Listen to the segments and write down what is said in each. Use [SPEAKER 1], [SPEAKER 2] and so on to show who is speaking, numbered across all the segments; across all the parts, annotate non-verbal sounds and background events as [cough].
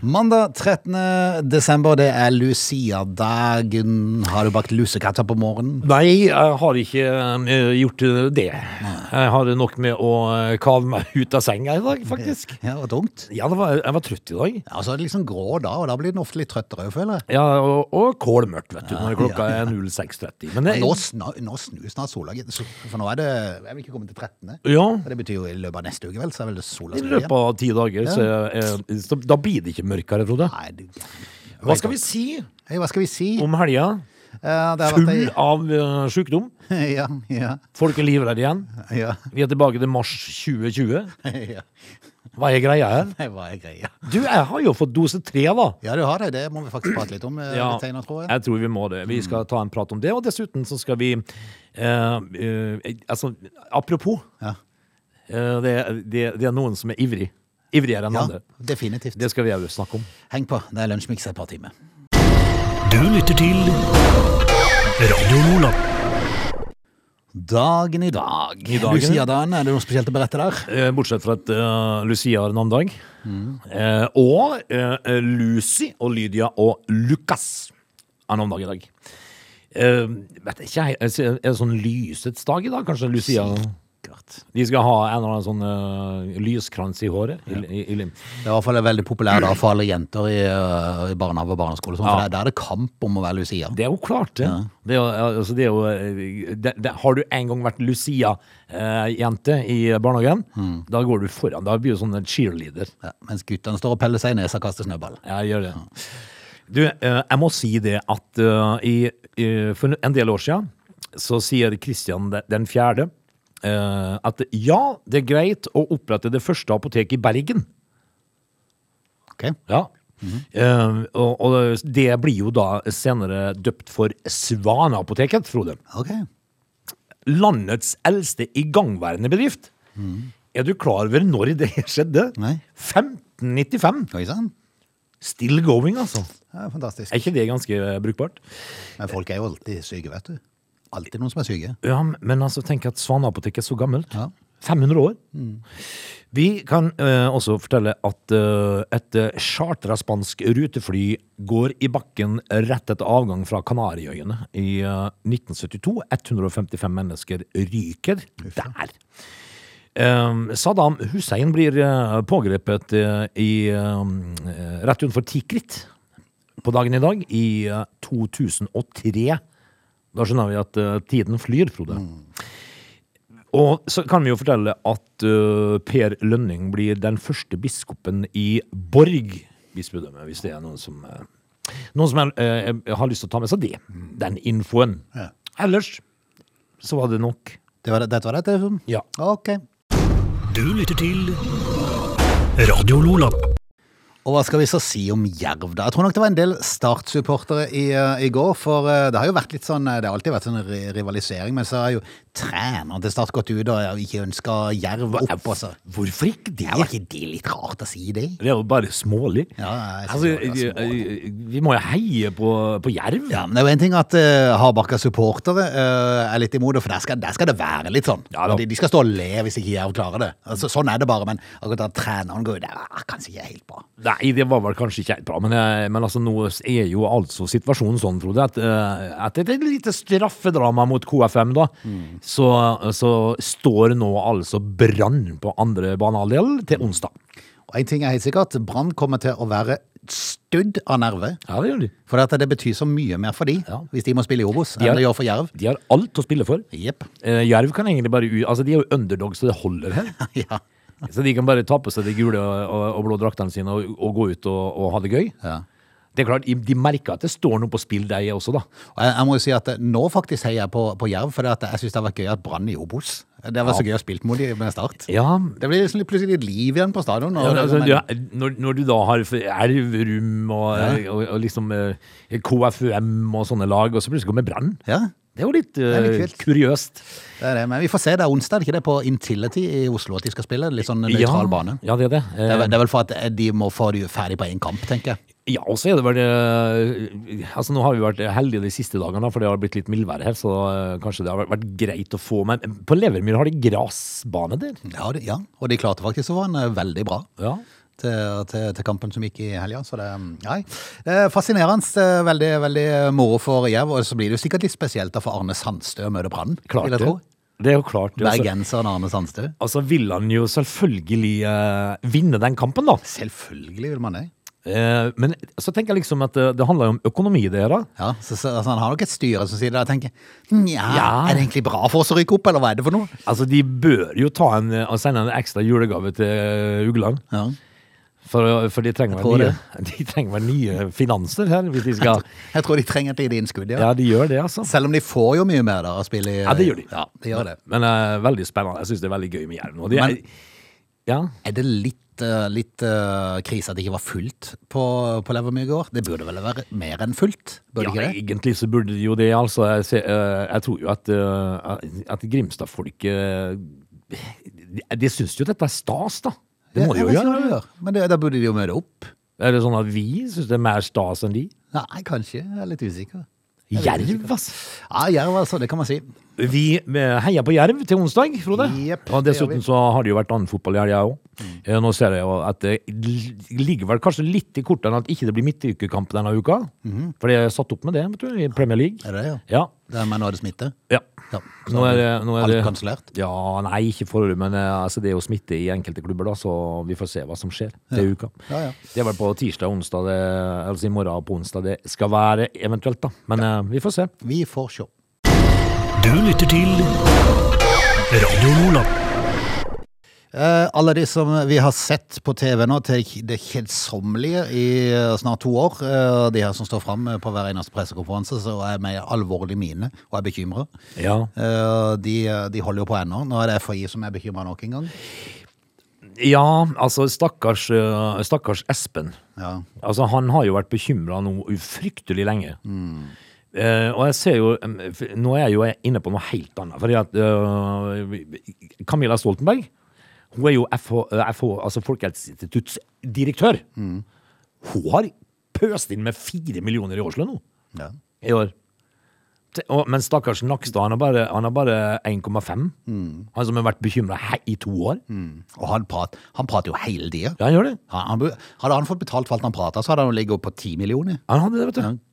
[SPEAKER 1] Mandag 13. desember, det er Lucia-dagen. Har du bakt lussekatter på morgenen?
[SPEAKER 2] Nei, jeg har ikke eh, gjort det. Jeg har nok med å eh, kave meg [laughs] ut av senga i dag, faktisk.
[SPEAKER 1] Ja, det var tungt.
[SPEAKER 2] Ja, det var, jeg var trøtt i dag.
[SPEAKER 1] Ja, så er det liksom grå da, og da blir den ofte litt trøttere, jeg føler jeg.
[SPEAKER 2] Ja, og, og kålmørkt, vet du, når klokka er 06.30. Men det,
[SPEAKER 1] Nå, sna, nå snur snart sola, gitt. Så- for nå er det Jeg vil ikke komme til 13.
[SPEAKER 2] ja,
[SPEAKER 1] Og det betyr jo i løpet av neste uke, vel, så er vel det sola
[SPEAKER 2] i
[SPEAKER 1] snur
[SPEAKER 2] løpet
[SPEAKER 1] igjen.
[SPEAKER 2] av ti dager, så, eh, så da blir det ikke mørkere, Frode.
[SPEAKER 1] Nei, du gæren.
[SPEAKER 2] Hva skal vi si
[SPEAKER 1] Hei, hva skal vi si?
[SPEAKER 2] om helga?
[SPEAKER 1] Eh, det har vært
[SPEAKER 2] Full
[SPEAKER 1] ei
[SPEAKER 2] av eh, sykdom.
[SPEAKER 1] [laughs] Ja, ja, [laughs]
[SPEAKER 2] Folk er livredde igjen.
[SPEAKER 1] ja.
[SPEAKER 2] Vi er tilbake til mars 2020.
[SPEAKER 1] ja.
[SPEAKER 2] Hva er greia her?
[SPEAKER 1] Nei, hva er greia?
[SPEAKER 2] Du, jeg har jo fått dose tre, da.
[SPEAKER 1] Ja, du har det. Det må vi faktisk prate litt om. eh,
[SPEAKER 2] Ja,
[SPEAKER 1] litt senere, tror jeg.
[SPEAKER 2] jeg tror vi må det. Vi skal ta en prat om det, og dessuten så skal vi eh, eh, Altså, apropos.
[SPEAKER 1] Ja.
[SPEAKER 2] eh, det, det, det er noen som er ivrig. Ivrigere enn
[SPEAKER 1] Ja,
[SPEAKER 2] andre.
[SPEAKER 1] definitivt.
[SPEAKER 2] Det skal vi òg snakke om.
[SPEAKER 1] Heng på. Det er Lunsjmix et par timer.
[SPEAKER 3] Du lytter til Radio Lola.
[SPEAKER 1] Dagen i dag.
[SPEAKER 2] I dagen.
[SPEAKER 1] Lucia-dagen, er det noe spesielt å berette der?
[SPEAKER 2] Eh, bortsett fra at eh, Lucia har en annen dag.
[SPEAKER 1] Mm.
[SPEAKER 2] Eh, og eh, Lucy og Lydia og Lucas har en annen dag i dag. Eh, vet ikke, jeg, er det sånn lysets dag i dag, kanskje? Lucia?
[SPEAKER 1] Sikkert.
[SPEAKER 2] De skal ha en eller annen sånn eh, lyskrans i håret. I, i, i, lim.
[SPEAKER 1] Det er i hvert fall en veldig populær dag for alle jenter i, øh, i barnehage og barneskole. og sånt, for
[SPEAKER 2] Ja.
[SPEAKER 1] der, der er det kamp om å være Lucia.
[SPEAKER 2] Det er jo klart, det. Det, er, jo- altså, det, er jo, eh, det, det. Har du en gang vært Lucia-jente i barnehagen, da går du foran. Da blir du sånn en cheerleader.
[SPEAKER 1] Ja, mens guttene står og peller seg i nesa og kaster snøball.
[SPEAKER 2] Jeg gjør det. Du, eh, jeg må si det at eh, i, eh, for en del år siden så sier Kristian den fjerde eh, at ja, det er greit å opprette det første apoteket i Bergen.
[SPEAKER 1] Ok?
[SPEAKER 2] Ja. Eh, og, og det blir jo da senere døpt for Svaneapoteket, Frode.
[SPEAKER 1] Ok.
[SPEAKER 2] landets eldste igangværende bedrift. Er du klar over når det [laughs] skjedde?
[SPEAKER 1] Nei.
[SPEAKER 2] 1595.
[SPEAKER 1] Oi sann.
[SPEAKER 2] Still going, altså.
[SPEAKER 1] Ja, fantastisk.
[SPEAKER 2] Er ikke det ganske eh, brukbart?
[SPEAKER 1] Men folk er jo alltid syke, vet du. Alltid noen som er syke.
[SPEAKER 2] Ja, men altså, tenk at Svaneapoteket er så gammelt.
[SPEAKER 1] Ja.
[SPEAKER 2] 500 år. Vi kan eh, også fortelle at eh, et eh, chartra spansk rutefly går i bakken rett etter avgang fra Kanariøyene i eh, 1972. 155 mennesker ryker der. Eh, Saddam Hussein blir eh, pågrepet eh, i, eh, rett utenfor Tikrit på dagen i dag i eh, 2003. Da skjønner vi at eh, tiden flyr, Frode. Og så kan vi jo fortelle at eh, Per Lønning blir den første biskopen i Borg bispedømme, hvis det er noen som, eh, noen som eh, har lyst til å ta med seg det, den infoen.
[SPEAKER 1] Ja.
[SPEAKER 2] Ellers så var det nok.
[SPEAKER 1] Det var det, dette var dette? liksom?
[SPEAKER 2] Ja.
[SPEAKER 1] Ok.
[SPEAKER 3] Du lytter til Radio Lola.
[SPEAKER 1] Og hva skal vi så si om Jerv, da? Jeg tror nok det var en del Start-supportere i, eh, i går. For eh, det har jo vært litt sånn eh, Det har alltid vært sånn ri- rivalisering, men så har jo treneren til Start gått ut og eh, ikke ønska Jerv opp. Og så.
[SPEAKER 2] Hvorfor ikke det?
[SPEAKER 1] Ja, var altså, ikke det litt rart å si det?
[SPEAKER 2] Det er jo bare smålig.
[SPEAKER 1] Ja, jeg synes
[SPEAKER 2] altså,
[SPEAKER 1] det var
[SPEAKER 2] eh, vi må jo heie på, på Jerv.
[SPEAKER 1] Ja, men Det er jo en ting at uh, Hardbakka-supportere eh, er litt imot det, for der skal, der skal det være litt sånn.
[SPEAKER 2] Ja da.
[SPEAKER 1] de, de skal stå og le hvis ikke Jerv klarer det. Altså, sånn er det bare, men akkurat at treneren går ut, det er kanskje ikke helt bra.
[SPEAKER 2] Nei, det var vel kanskje ikke helt bra, men, eh, men altså, nå er jo altså situasjonen sånn, Frode, at, eh, at etter et lite straffedrama mot KFM, da, så, så står nå altså Brann på andre banehalvdel til onsdag.
[SPEAKER 1] Og En ting er helt sikkert, Brann kommer til å være studd av nerve.
[SPEAKER 2] Ja, det gjør de.
[SPEAKER 1] For dette, det betyr så mye mer for de,
[SPEAKER 2] Ja.
[SPEAKER 1] hvis de må spille i Obos,
[SPEAKER 2] har-
[SPEAKER 1] enn det gjør for Jerv.
[SPEAKER 2] De har alt å spille for.
[SPEAKER 1] Jepp.
[SPEAKER 2] Eh, Jerv kan egentlig bare u... Altså, de er jo underdog, så det holder [laughs] her.
[SPEAKER 1] [laughs] ja.
[SPEAKER 2] Så de kan bare ta på seg de gule og, og, og blå draktene sine og, og gå ut og, og ha det gøy.
[SPEAKER 1] Ja.
[SPEAKER 2] Det er klart, De merker at det står noe på spill, de også, da.
[SPEAKER 1] Og jeg, jeg må jo si at eh, nå faktisk heier jeg på, på Jerv, for jeg syns det har vært gøy at Brann i Obos. Det var så gøy å spille mot dem med Start.
[SPEAKER 2] Ja,
[SPEAKER 1] Det blir liksom litt- plutselig litt liv igjen på stadion. Og,
[SPEAKER 2] Ja, men altså,
[SPEAKER 1] men-
[SPEAKER 2] du, når, når du da har f- eh, Elverum og, og, og liksom eh, KFUM og sånne lag, og så plutselig kommer Brann.
[SPEAKER 1] ja.
[SPEAKER 2] Det er jo litt
[SPEAKER 1] er litt
[SPEAKER 2] eh,
[SPEAKER 1] kult.
[SPEAKER 2] kuriøst.
[SPEAKER 1] Det er det, men vi får se. Det er onsdag, er det ikke det? På Intility i Oslo at de skal spille. Litt sånn nøytral bane.
[SPEAKER 2] Ja, det er det.
[SPEAKER 1] Det er,
[SPEAKER 2] Eh,
[SPEAKER 1] vel- det er vel for at eh, de må få det ferdig på én kamp, tenker jeg.
[SPEAKER 2] Ja, og så er det vel eh, Altså, nå har vi vært heldige de siste dagene, da, for det har blitt litt mildvær her, så eh, kanskje det har vært- vært greit å få Men på Levermyr har de gressbane der.
[SPEAKER 1] Ja, det, ja. Og de klarte faktisk å få den eh, veldig bra.
[SPEAKER 2] Ja.
[SPEAKER 1] Til, til, til kampen som gikk i helga. Så det nei. Eh, Fascinerende. eh, Veldig veldig moro for Jerv. Og så blir det jo sikkert litt spesielt da for Arne Sandstø å møte Brann.
[SPEAKER 2] Klart
[SPEAKER 1] vil jeg
[SPEAKER 2] det.
[SPEAKER 1] tro.
[SPEAKER 2] Det er jo klart. det, altså.
[SPEAKER 1] Bergenseren Arne Sandstø.
[SPEAKER 2] Altså vil han jo selvfølgelig eh, vinne den kampen, da.
[SPEAKER 1] Selvfølgelig vil man det.
[SPEAKER 2] Eh, men så tenker jeg liksom at eh, det handler jo om økonomi, det her. da.
[SPEAKER 1] Ja, så, så, altså, Han har nok et styre som sier det. og Jeg tenker nja,
[SPEAKER 2] Ja.
[SPEAKER 1] er det egentlig bra for oss å rykke opp, eller hva er det for noe?
[SPEAKER 2] Altså, de bør jo ta en, eh, og sende en ekstra julegave til eh, Ugland.
[SPEAKER 1] Ja.
[SPEAKER 2] For, for de, trenger
[SPEAKER 1] Jeg tror
[SPEAKER 2] vel nye, [laughs] de trenger vel nye finanser her, hvis de skal
[SPEAKER 1] [laughs] Jeg tror de trenger et lite innskudd, ja.
[SPEAKER 2] Ja, de gjør det, altså.
[SPEAKER 1] Selv om de får jo mye mer da, å spille i
[SPEAKER 2] Ja, det gjør de.
[SPEAKER 1] Ja, de gjør det.
[SPEAKER 2] Men eh, veldig spennende. Jeg syns det er veldig gøy med Jerv nå. De, er-
[SPEAKER 1] Men-
[SPEAKER 2] ja.
[SPEAKER 1] Er det litt, eh, litt eh, krise at det ikke var fullt på, på Levermyr i går? Det burde vel være mer enn fullt? Burde
[SPEAKER 2] ja,
[SPEAKER 1] ikke det?
[SPEAKER 2] egentlig så burde de jo det, altså. Jeg, ser, eh, jeg tror jo at, eh, at Grimstad-folket De, de syns jo dette er stas, da. Det må de
[SPEAKER 1] Jeg
[SPEAKER 2] jo
[SPEAKER 1] vet ikke hva
[SPEAKER 2] gjøre.
[SPEAKER 1] de gjør. Men det, da burde de jo møte opp.
[SPEAKER 2] Er det sånn at vi syns det er mer stas enn de?
[SPEAKER 1] Nei, kanskje. Jeg er litt usikker.
[SPEAKER 2] Jerv, altså.
[SPEAKER 1] Ja, Jerv altså, det kan man si.
[SPEAKER 2] Vi eh, heier på Jerv til onsdag, Frode.
[SPEAKER 1] Jepp,
[SPEAKER 2] og
[SPEAKER 1] det gjør
[SPEAKER 2] dessuten
[SPEAKER 1] vi.
[SPEAKER 2] så har det jo vært annen fotball i helga òg. Nå ser jeg jo at det l- ligger vel kanskje litt i kortene at ikke det blir midtukekamp denne uka.
[SPEAKER 1] Mhm.
[SPEAKER 2] For de er satt opp med det vet du, i Premier League.
[SPEAKER 1] Er det det, ja?
[SPEAKER 2] Ja.
[SPEAKER 1] Det er, men nå er det smitte?
[SPEAKER 2] ja.
[SPEAKER 1] Ja.
[SPEAKER 2] Nå er det, nå er det
[SPEAKER 1] Alt kansellert?
[SPEAKER 2] Ja, Nei, ikke foreløpig, men eh, altså, det er jo smitte i enkelte klubber, da, så vi får se hva som skjer til uka.
[SPEAKER 1] Ja, ja.
[SPEAKER 2] Det er vel på tirsdag og onsdag, det, altså i morgen og på onsdag det skal være eventuelt, da. Men eh, vi får se.
[SPEAKER 1] Vi får se.
[SPEAKER 3] Du lytter til Radio Lola.
[SPEAKER 1] Eh, alle de som vi har sett på TV nå til det kjedsommelige i eh, snart to år, eh, de her som står fram på hver eneste pressekonferanse, så er jeg med i alvorlig mine og er bekymra.
[SPEAKER 2] Ja.
[SPEAKER 1] de, Eh, de holder jo på ennå. Nå er det FHI som er bekymra nok en gang.
[SPEAKER 2] Ja, altså stakkars, eh, stakkars Espen.
[SPEAKER 1] Ja.
[SPEAKER 2] Altså, han har jo vært bekymra nå fryktelig lenge. Eh, og jeg ser jo em, f- Nå er jeg jo inne på noe helt annet. Fordi at eh, Camilla Stoltenberg Hun er jo FH, eh, FH altså Folkehelseinstitutts direktør. Hun har pøst inn med fire millioner i årslønn nå.
[SPEAKER 1] Ja.
[SPEAKER 2] I år. Te- Og, men stakkars Nakstad, han har bare, han har bare 1,5. Han som har vært bekymra i to år.
[SPEAKER 1] Og han, prat, han prater jo hele tida.
[SPEAKER 2] Ja, han gjør det.
[SPEAKER 1] Han, han, bu- hadde han fått betalt for alt han prata, så hadde han jo ligget oppe på ti millioner.
[SPEAKER 2] Han hadde det, vet du.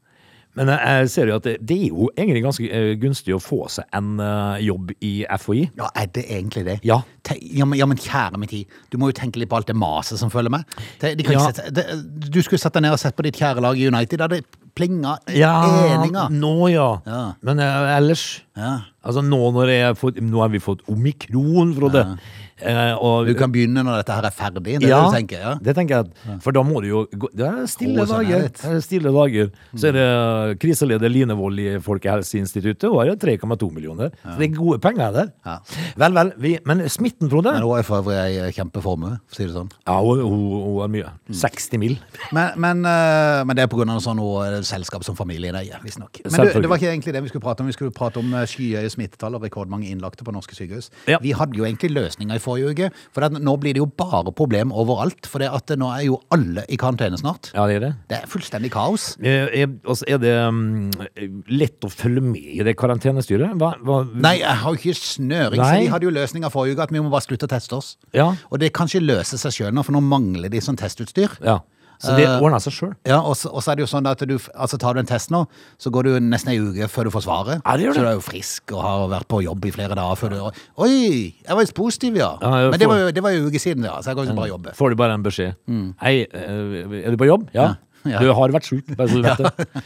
[SPEAKER 2] Men jeg- jeg ser jo at det, det er jo egentlig ganske eh, gunstig å få seg en eh, jobb i FHI.
[SPEAKER 1] Ja, Er det egentlig det?
[SPEAKER 2] Ja.
[SPEAKER 1] Te, ja, men, ja, men kjære min tid, du må jo tenke litt på alt det maset som følger med. Det, de kan
[SPEAKER 2] Ja.
[SPEAKER 1] ikke sette, det, du skulle sett deg ned og sett på ditt kjære lag i United. Da det plinga i eninga.
[SPEAKER 2] nå ja.
[SPEAKER 1] Ja.
[SPEAKER 2] Men eh, ellers
[SPEAKER 1] Ja.
[SPEAKER 2] Altså nå, når jeg har fått, nå har vi fått omikron, Frode. Eh, og,
[SPEAKER 1] Du kan begynne når dette her er ferdig. Det er det du tenker, ja.
[SPEAKER 2] det tenker jeg. at- For da må du jo gå, Det er stille
[SPEAKER 1] Roe seg ned
[SPEAKER 2] dager.
[SPEAKER 1] litt. Mm.
[SPEAKER 2] Det er stille dager. Så er det eh, kriseleder Line Wold i Folkehelseinstituttet. Hun har jo 3,2 millioner. Så det er gode penger der.
[SPEAKER 1] Ja.
[SPEAKER 2] Vel, vel. Vi, men smitten, Frode
[SPEAKER 1] Men hun er for øvrig ei kjempeformue, for å si det sånn.
[SPEAKER 2] Ja, hun, hun, hun er mye. 60 Mm. mil.
[SPEAKER 1] Men, men, eh, men det er pga. sånn noe selskap som familien eier, visstnok. Men du,
[SPEAKER 2] Selvfølgelig.
[SPEAKER 1] det var ikke egentlig det vi skulle prate om. Vi skulle prate om eh, skyhøye smittetall og rekordmange innlagte på norske sykehus.
[SPEAKER 2] Ja.
[SPEAKER 1] Vi hadde jo egentlig løsninger i forrige uke, for at nå blir det jo bare problem overalt. For det at eh, nå er jo alle i karantene snart.
[SPEAKER 2] Ja, det er det.
[SPEAKER 1] Det er fullstendig kaos.
[SPEAKER 2] Og så Eh, er det mm, lett å følge med i det karantenestyret. Hva, hva,
[SPEAKER 1] Nei, jeg har jo ikke snøring.
[SPEAKER 2] Nei.
[SPEAKER 1] Så vi hadde jo løsninger forrige uke at vi må bare slutte å teste oss.
[SPEAKER 2] Ja.
[SPEAKER 1] Og det kan ikke løse seg sjøl nå, for nå mangler de sånn testutstyr.
[SPEAKER 2] ja. Så det
[SPEAKER 1] Eh,
[SPEAKER 2] ordner seg sjøl.
[SPEAKER 1] Ja, og så, og så er det jo sånn at du, altså tar du en test nå, så går du nesten ei uke før du får svaret.
[SPEAKER 2] Ja, det gjør det.
[SPEAKER 1] Så du er jo frisk og har vært på jobb i flere dager før du Oi, jeg var positiv, ja.
[SPEAKER 2] Ja, jeg
[SPEAKER 1] Men det
[SPEAKER 2] får-
[SPEAKER 1] var, jo, det var jo en uke siden, ja, så jeg kan ikke bare jobbe. [laughs] Mm.
[SPEAKER 2] Får du bare en beskjed. Hei, eh, er du på jobb? Ja.
[SPEAKER 1] Ja.
[SPEAKER 2] Du har vært sjuk, bare så du
[SPEAKER 1] [laughs]
[SPEAKER 2] vet det.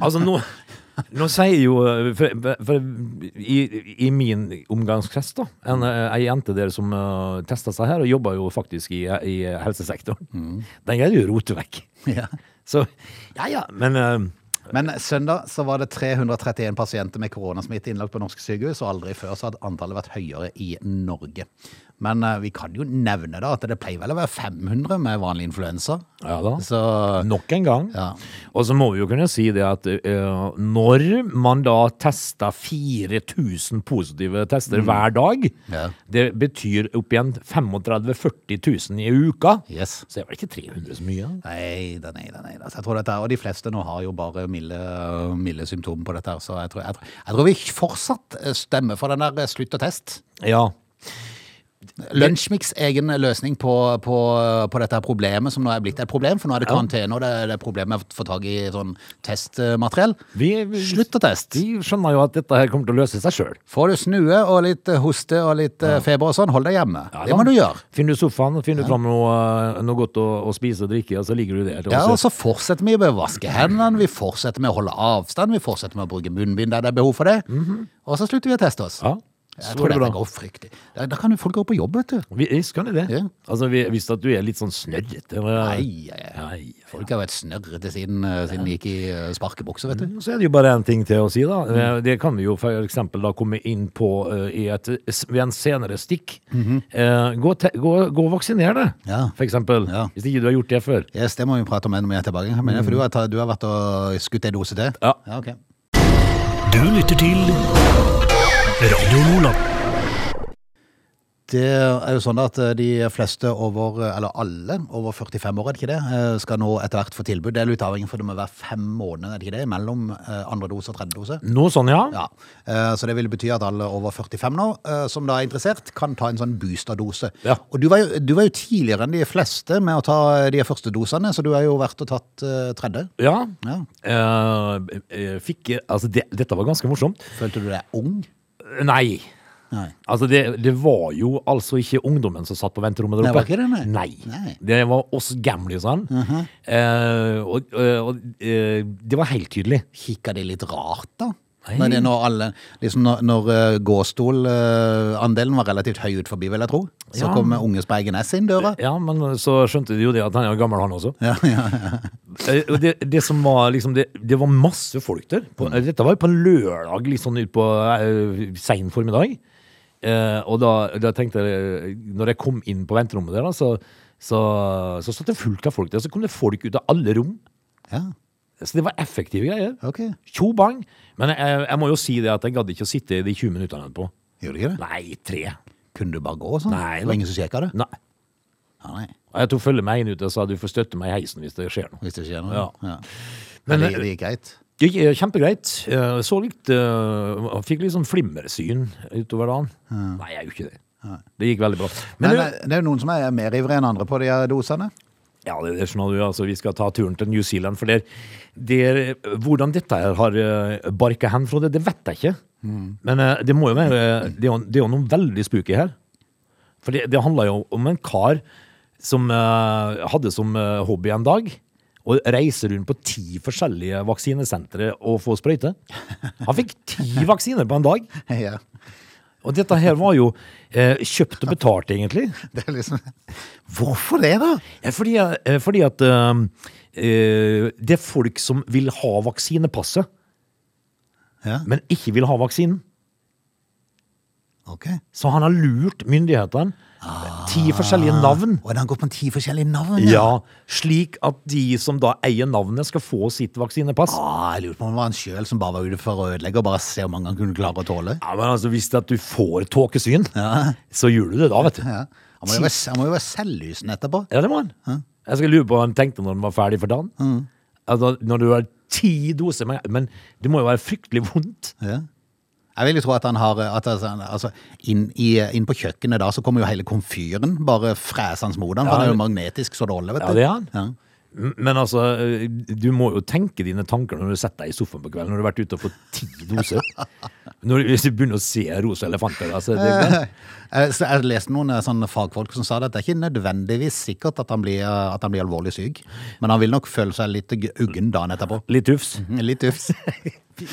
[SPEAKER 2] Altså, nå, nå sier jo eh, For, for i, i min omgangskrets, da, en, eh, ei jente der som uh, testa seg her, og jobba jo faktisk i, i
[SPEAKER 1] Mm.
[SPEAKER 2] helsesektoren, den greier du å rote vekk.
[SPEAKER 1] Ja.
[SPEAKER 2] Så ja, ja, men eh,
[SPEAKER 1] Men søndag så var det 331 pasienter med koronasmitte innlagt på norske sykehus, og aldri før så hadde antallet vært høyere i Norge. Men eh, vi kan jo nevne da at det pleier vel å være 500 med vanlig influensa.
[SPEAKER 2] Ja da.
[SPEAKER 1] Så
[SPEAKER 2] Nok en gang.
[SPEAKER 1] Ja.
[SPEAKER 2] Og så må vi jo kunne si det at eh, når man da tester 4000 positive tester hver dag,
[SPEAKER 1] Mm. Ja.
[SPEAKER 2] det betyr opp igjen 35 000-40 000 i uka.
[SPEAKER 1] yes.
[SPEAKER 2] Så det var ikke 300 så mye.
[SPEAKER 1] Nei da, nei da. nei da. Så jeg tror dette, er- Og de fleste nå har jo bare milde, milde symptomer på dette, her, så jeg tror, jeg, tror, jeg tror vi fortsatt eh, stemmer for den der slutt og test.
[SPEAKER 2] Ja.
[SPEAKER 1] Lunsjmix egen løsning på, på, på dette her problemet som nå er blitt et problem, for nå er det karantene, og det er det er problem med å få tak i sånn testmateriell.
[SPEAKER 2] Vi- vi-
[SPEAKER 1] Slutt å teste.
[SPEAKER 2] De skjønner jo at dette her kommer til å løse seg sjøl.
[SPEAKER 1] Får du snue og litt eh, hoste og litt eh, feber og sånn, hold deg hjemme. det må du gjøre.
[SPEAKER 2] Finner du sofaen, finner du fram noe, eh, noe godt å, å spise og drikke, og så ligger du der.
[SPEAKER 1] Ja, og så fortsetter vi med å vaske hendene, vi fortsetter med å holde avstand, vi fortsetter med å bruke munnbind der det er behov for det, og så slutter vi å teste oss.
[SPEAKER 2] Mhm. ja.
[SPEAKER 1] altså. Jeg
[SPEAKER 2] så
[SPEAKER 1] tror
[SPEAKER 2] er det
[SPEAKER 1] dette
[SPEAKER 2] bra.
[SPEAKER 1] går fryktelig. Da, da kan jo folk gå på jobb, vet du.
[SPEAKER 2] Vi- Visst kan de det.
[SPEAKER 1] Ja.
[SPEAKER 2] Altså, vi- Hvis at du er litt sånn snørrete. eller-
[SPEAKER 1] Nei, nei, nei.
[SPEAKER 2] Nei.
[SPEAKER 1] folk har vært snørrete siden, eh, siden de gikk i eh, sparkebukse, vet du.
[SPEAKER 2] Mm, Så er det jo bare én ting til å si, da. Eh, Det kan vi jo for eksempel da komme inn på eh, i et, s- ved en senere stikk. Eh, gå, te, gå, gå og vaksiner deg,
[SPEAKER 1] Mhm. Ja.
[SPEAKER 2] for eksempel.
[SPEAKER 1] Ja.
[SPEAKER 2] Hvis ikke du har gjort det før.
[SPEAKER 1] Yes, det må vi prate om når vi er tilbake. Men det er for du har, tatt- eh, du har vært og skutt en dose til?
[SPEAKER 2] Mhm. Ja.
[SPEAKER 1] ja ok.
[SPEAKER 3] Du lytter til Radio Nordland.
[SPEAKER 1] Det er jo sånn at eh, de fleste over, eh, eller alle over 45 år, er det ikke det, eh, skal nå etter hvert få tilbud. Det er litt avhengig for det må være fem måneder, er det ikke det, mellom eh, andre dose og tredje dose.
[SPEAKER 2] Noe sånn, ja.
[SPEAKER 1] Ja, eh, så det vil bety at alle over 45 nå, eh, som da er interessert, kan ta en sånn boosterdose.
[SPEAKER 2] Ja.
[SPEAKER 1] Og du var, jo, du var jo tidligere enn de fleste med å ta de første dosene, så du har jo vært og tatt eh, tredje.
[SPEAKER 2] Ja.
[SPEAKER 1] Ja.
[SPEAKER 2] Eh, eh, fikk Altså, det, dette var ganske morsomt.
[SPEAKER 1] Følte du deg ung?
[SPEAKER 2] Nei.
[SPEAKER 1] Nei.
[SPEAKER 2] Altså, det, det var jo altså ikke ungdommen som satt på venterommet der
[SPEAKER 1] Nei,
[SPEAKER 2] oppe.
[SPEAKER 1] var ikke det, nei? Nei. Mhm.
[SPEAKER 2] Det var oss gamlisene. eh, og eh, og eh, det var helt tydelig.
[SPEAKER 1] Kikker de litt rart da?
[SPEAKER 2] Nei.
[SPEAKER 1] Når, det, når, alle, liksom når, når eh, gåstol-andelen var relativt høy ut forbi, vil jeg tro, så
[SPEAKER 2] Ja.
[SPEAKER 1] kom eh, unge speigenes inn døra.
[SPEAKER 2] Ja, men så skjønte de jo det at han er jo gammel, han også.
[SPEAKER 1] Ja, ja, ja.
[SPEAKER 2] Eh, og det, det som var liksom Det, det var masse folk der. På, Dette var jo på en lørdag, litt sånn utpå uh, sein formiddag. Eh, og da, da tenkte jeg eh, Når jeg kom inn på venterommet der, da, så, så, så satt det fullt av folk der. Så kom det folk ut av alle rom.
[SPEAKER 1] ja.
[SPEAKER 2] Så det var effektive greier.
[SPEAKER 1] ok.
[SPEAKER 2] Tjo bang. Men jeg, jeg må jo si det at jeg gadd ikke å sitte de 20 minuttene etterpå.
[SPEAKER 1] Gjorde de ikke det?
[SPEAKER 2] Nei, tre.
[SPEAKER 1] Kunne du bare gå sånn?
[SPEAKER 2] Nei,
[SPEAKER 1] Det var ingen som sjekket det?
[SPEAKER 2] Nei.
[SPEAKER 1] Ja, nei.
[SPEAKER 2] Og Jeg tok følge meg inn ut og sa du får støtte meg i heisen hvis det skjer noe.
[SPEAKER 1] Hvis det skjer noe.
[SPEAKER 2] Ja.
[SPEAKER 1] Men, eh,
[SPEAKER 2] Men-
[SPEAKER 1] det, det gikk greit.
[SPEAKER 2] Det gikk eh, kjempegreit. Eh, Så litt eh, Han fikk litt sånn flimmersyn utover dagen. Nei, jeg gjorde ikke det. Det gikk veldig bra. Men,
[SPEAKER 1] Men
[SPEAKER 2] du,
[SPEAKER 1] det, det er jo noen som er mer ivrige enn andre på de her dosene. [laughs]
[SPEAKER 2] ja, det, det skjønner du, altså, vi skal ta turen til New Zealand, for der, der eh, Hvordan dette her har eh, barka hen, Frode, det vet jeg ikke. Men eh, det må jo være Det er jo, det er jo noe veldig spooky her. For det, det handla jo om en kar som eh, hadde som eh, hobby en dag å reise rundt på ti forskjellige vaksinesentre og få sprøyte. Han fikk ti vaksiner på en dag.
[SPEAKER 1] Ja.
[SPEAKER 2] Og dette her var jo eh, kjøpt og betalt, egentlig.
[SPEAKER 1] Det er liksom, hvorfor det, da?
[SPEAKER 2] Eh, Fordi, eh, fordi at eh, eh, det er folk som vil ha vaksinepasset,
[SPEAKER 1] Ja,
[SPEAKER 2] men ikke vil ha vaksinen.
[SPEAKER 1] ok.
[SPEAKER 2] Så han har lurt myndighetene. Ti forskjellige navn.
[SPEAKER 1] Og den går på ti forskjellige navn?
[SPEAKER 2] Ja, Slik at de som da eier navnet, skal få sitt vaksinepass.
[SPEAKER 1] Ah, jeg lurer på om det var han sjøl som bare var ute for å ødelegge og bare se hvor mange han kunne klare å tåle.
[SPEAKER 2] Ja, men altså, Hvis det at du får tåkesyn, så gjør du det da, vet du.
[SPEAKER 1] Ja. Han, må jo være, han må jo være selvlysende etterpå.
[SPEAKER 2] Ja, det må han. Jeg skal lure på hva han tenkte når han var ferdig for dagen. Altså, når du har ti doser med Men det må jo være fryktelig vondt.
[SPEAKER 1] Ja. Jeg vil jo tro at han har at altså, han- altså, inn, i, inn på kjøkkenet da, så kommer jo hele komfyren bare fresende mot han, for
[SPEAKER 2] Ja,
[SPEAKER 1] han er jo
[SPEAKER 2] det-
[SPEAKER 1] magnetisk så det holder, vet du.
[SPEAKER 2] Ja, det er han.
[SPEAKER 1] Ja.
[SPEAKER 2] M- Men altså, eh, du må jo tenke dine tanker når du setter deg i sofaen på kvelden, når du har vært ute og fått ti
[SPEAKER 1] [laughs]
[SPEAKER 2] doser. Når du, hvis du begynner å se rosa elefanter, altså det,
[SPEAKER 1] Eh, Så jeg leste noen eh, sånne fagfolk som sa det at det er ikke nødvendigvis sikkert at han blir, eh, at han blir alvorlig syk, men han vil nok føle seg litt g- uggen dagen etterpå. Mm,
[SPEAKER 2] Litt tufs.
[SPEAKER 1] Litt
[SPEAKER 2] [laughs]
[SPEAKER 1] ufs.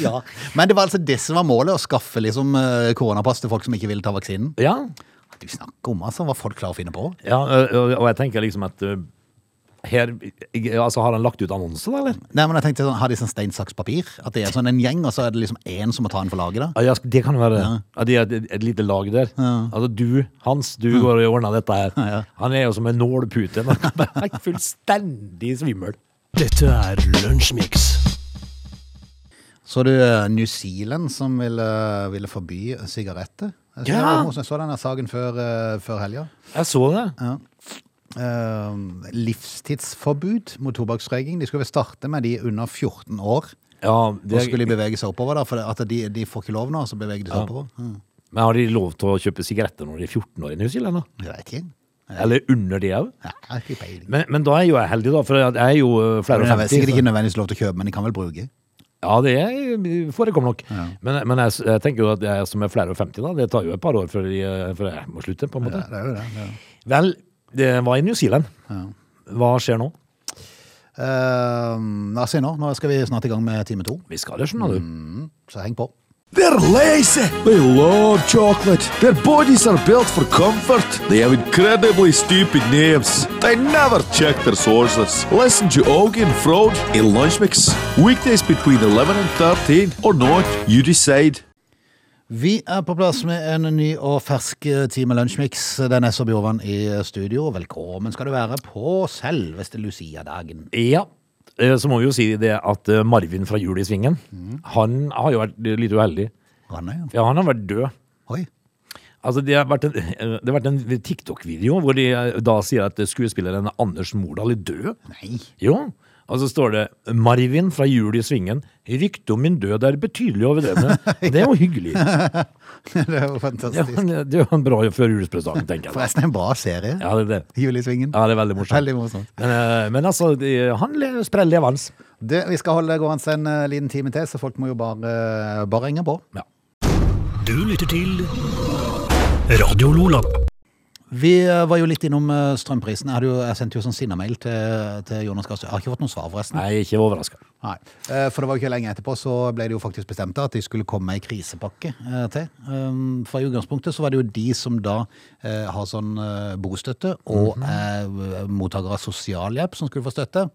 [SPEAKER 1] ja. Men det var altså det som var målet, å skaffe liksom eh, koronapass til folk som ikke ville ta vaksinen.
[SPEAKER 2] Ja.
[SPEAKER 1] Du snakker om altså hva folk klarer å finne på.
[SPEAKER 2] ja og, og jeg tenker liksom at eh, Her, altså, har han lagt ut annonse, da, eller?
[SPEAKER 1] Nei, men jeg tenkte sånn, Har de sånn stein, saks, papir? At det er sånn en gjeng, og så er det liksom én som må ta en for laget? da?
[SPEAKER 2] Ja, sk- det kan jo være ja. Det er et, et lite lag der. Altså du, Hans, du går og ordner dette her.
[SPEAKER 1] ja.
[SPEAKER 2] Han er jo som en nålpute. Han er [laughs] fullstendig svimmel.
[SPEAKER 3] Dette er Lunsjmix.
[SPEAKER 1] Så du eh, New Zealand som ville, ville forby sigaretter? Jeg,
[SPEAKER 2] Ja.
[SPEAKER 1] så- jeg så denne saken før, eh, før helga.
[SPEAKER 2] Jeg så det.
[SPEAKER 1] Eh, livstidsforbud mot tobakksrøyking. De skulle vel starte med de under 14 år.
[SPEAKER 2] Ja,
[SPEAKER 1] Og
[SPEAKER 2] det,
[SPEAKER 1] så skulle de bevege seg oppover, da, for at de, de får ikke lov nå. Så beveger de seg oppover. Mm.
[SPEAKER 2] Men har de lov til å kjøpe sigaretter når de er 14 år i New Zealand? da?
[SPEAKER 1] Jeg vet ikke.
[SPEAKER 2] Eller under det òg?
[SPEAKER 1] Ja, jeg har ikke peiling.
[SPEAKER 2] Men, men da er jo jeg heldig, da, for jeg er jo eh, flere
[SPEAKER 1] Men
[SPEAKER 2] og
[SPEAKER 1] det er sikkert
[SPEAKER 2] femti.
[SPEAKER 1] ikke nødvendigvis lov til å kjøpe, men de kan vel bruke.
[SPEAKER 2] Ja, det er- eh, forekommer nok. Men, men jeg, s- jeg tenker jo at jeg som er flere og femti, da, det tar jo et par år før, de, eh, før jeg må slutte, på en måte.
[SPEAKER 1] Ja, det er jo det. det er jo.
[SPEAKER 2] Vel, det var i New Zealand. Hva skjer nå?
[SPEAKER 1] Eh, la oss se nå. Nå skal vi snart i gang med time to,
[SPEAKER 2] Vi skal det, skjønner
[SPEAKER 1] Mm.
[SPEAKER 2] du.
[SPEAKER 1] så heng på.
[SPEAKER 4] They're lazy. They love chocolate. Their bodies are built for comfort. They have incredibly stupid names. They never check their sources. Listen to Augie and Frode in Lunch Mix. Weekdays between 11 and 13 or not, you decide.
[SPEAKER 1] Vi er på plass med en ny og fersk eh, time Lunsjmix. Det er Ness og Bjorvann i eh, studio. Velkommen skal du være på selveste Lucia-dagen.
[SPEAKER 2] Ja. eh, Så må vi jo si det at eh, Marvin fra Jul i Svingen,
[SPEAKER 1] Mm.
[SPEAKER 2] han har jo vært litt uheldig.
[SPEAKER 1] Ranne, ja.
[SPEAKER 2] Ja, han har vært død.
[SPEAKER 1] Oi.
[SPEAKER 2] Altså, det har vært en, eh, det har vært en TikTok-video hvor de eh, da sier at skuespilleren Anders Mordal er død.
[SPEAKER 1] Nei. [laughs]
[SPEAKER 2] Jo. Og så står det 'Marvin fra Jul i Svingen. Ryktet om min død er betydelig overdrevne'. Det er jo hyggelig.
[SPEAKER 1] det er jo
[SPEAKER 2] Ja,
[SPEAKER 1] fantastisk.
[SPEAKER 2] men Det er jo en bra førjulspresang, tenker
[SPEAKER 1] [laughs]
[SPEAKER 2] jeg. da.
[SPEAKER 1] Forresten en bra serie.
[SPEAKER 2] Ja, det er det.
[SPEAKER 1] Jul i svingen.
[SPEAKER 2] Ja, det er veldig morsomt.
[SPEAKER 1] Veldig morsomt.
[SPEAKER 2] Men, eh, men altså, de- han le- sprer levende.
[SPEAKER 1] Du, vi skal holde gående en eh, liten time til, så folk må jo bare, eh, bare henge på.
[SPEAKER 2] Ja.
[SPEAKER 3] Du lytter til Radio Lola.
[SPEAKER 1] Vi eh, var jo litt innom eh, strømprisene. Jeg, hadde jo, jeg sendte jo sånn sinnamail til, til Jonas Gahr Støre. Jeg har ikke fått noe svar, forresten.
[SPEAKER 2] Nei, ikke overraska.
[SPEAKER 1] Nei. Eh, For det var jo ikke lenge etterpå så ble det jo faktisk bestemt at de skulle komme med ei krisepakke eh, til. Um, For i utgangspunktet så var det jo de som da eh, har sånn eh, bostøtte og er mottakere av sosialhjelp som skulle få støtte.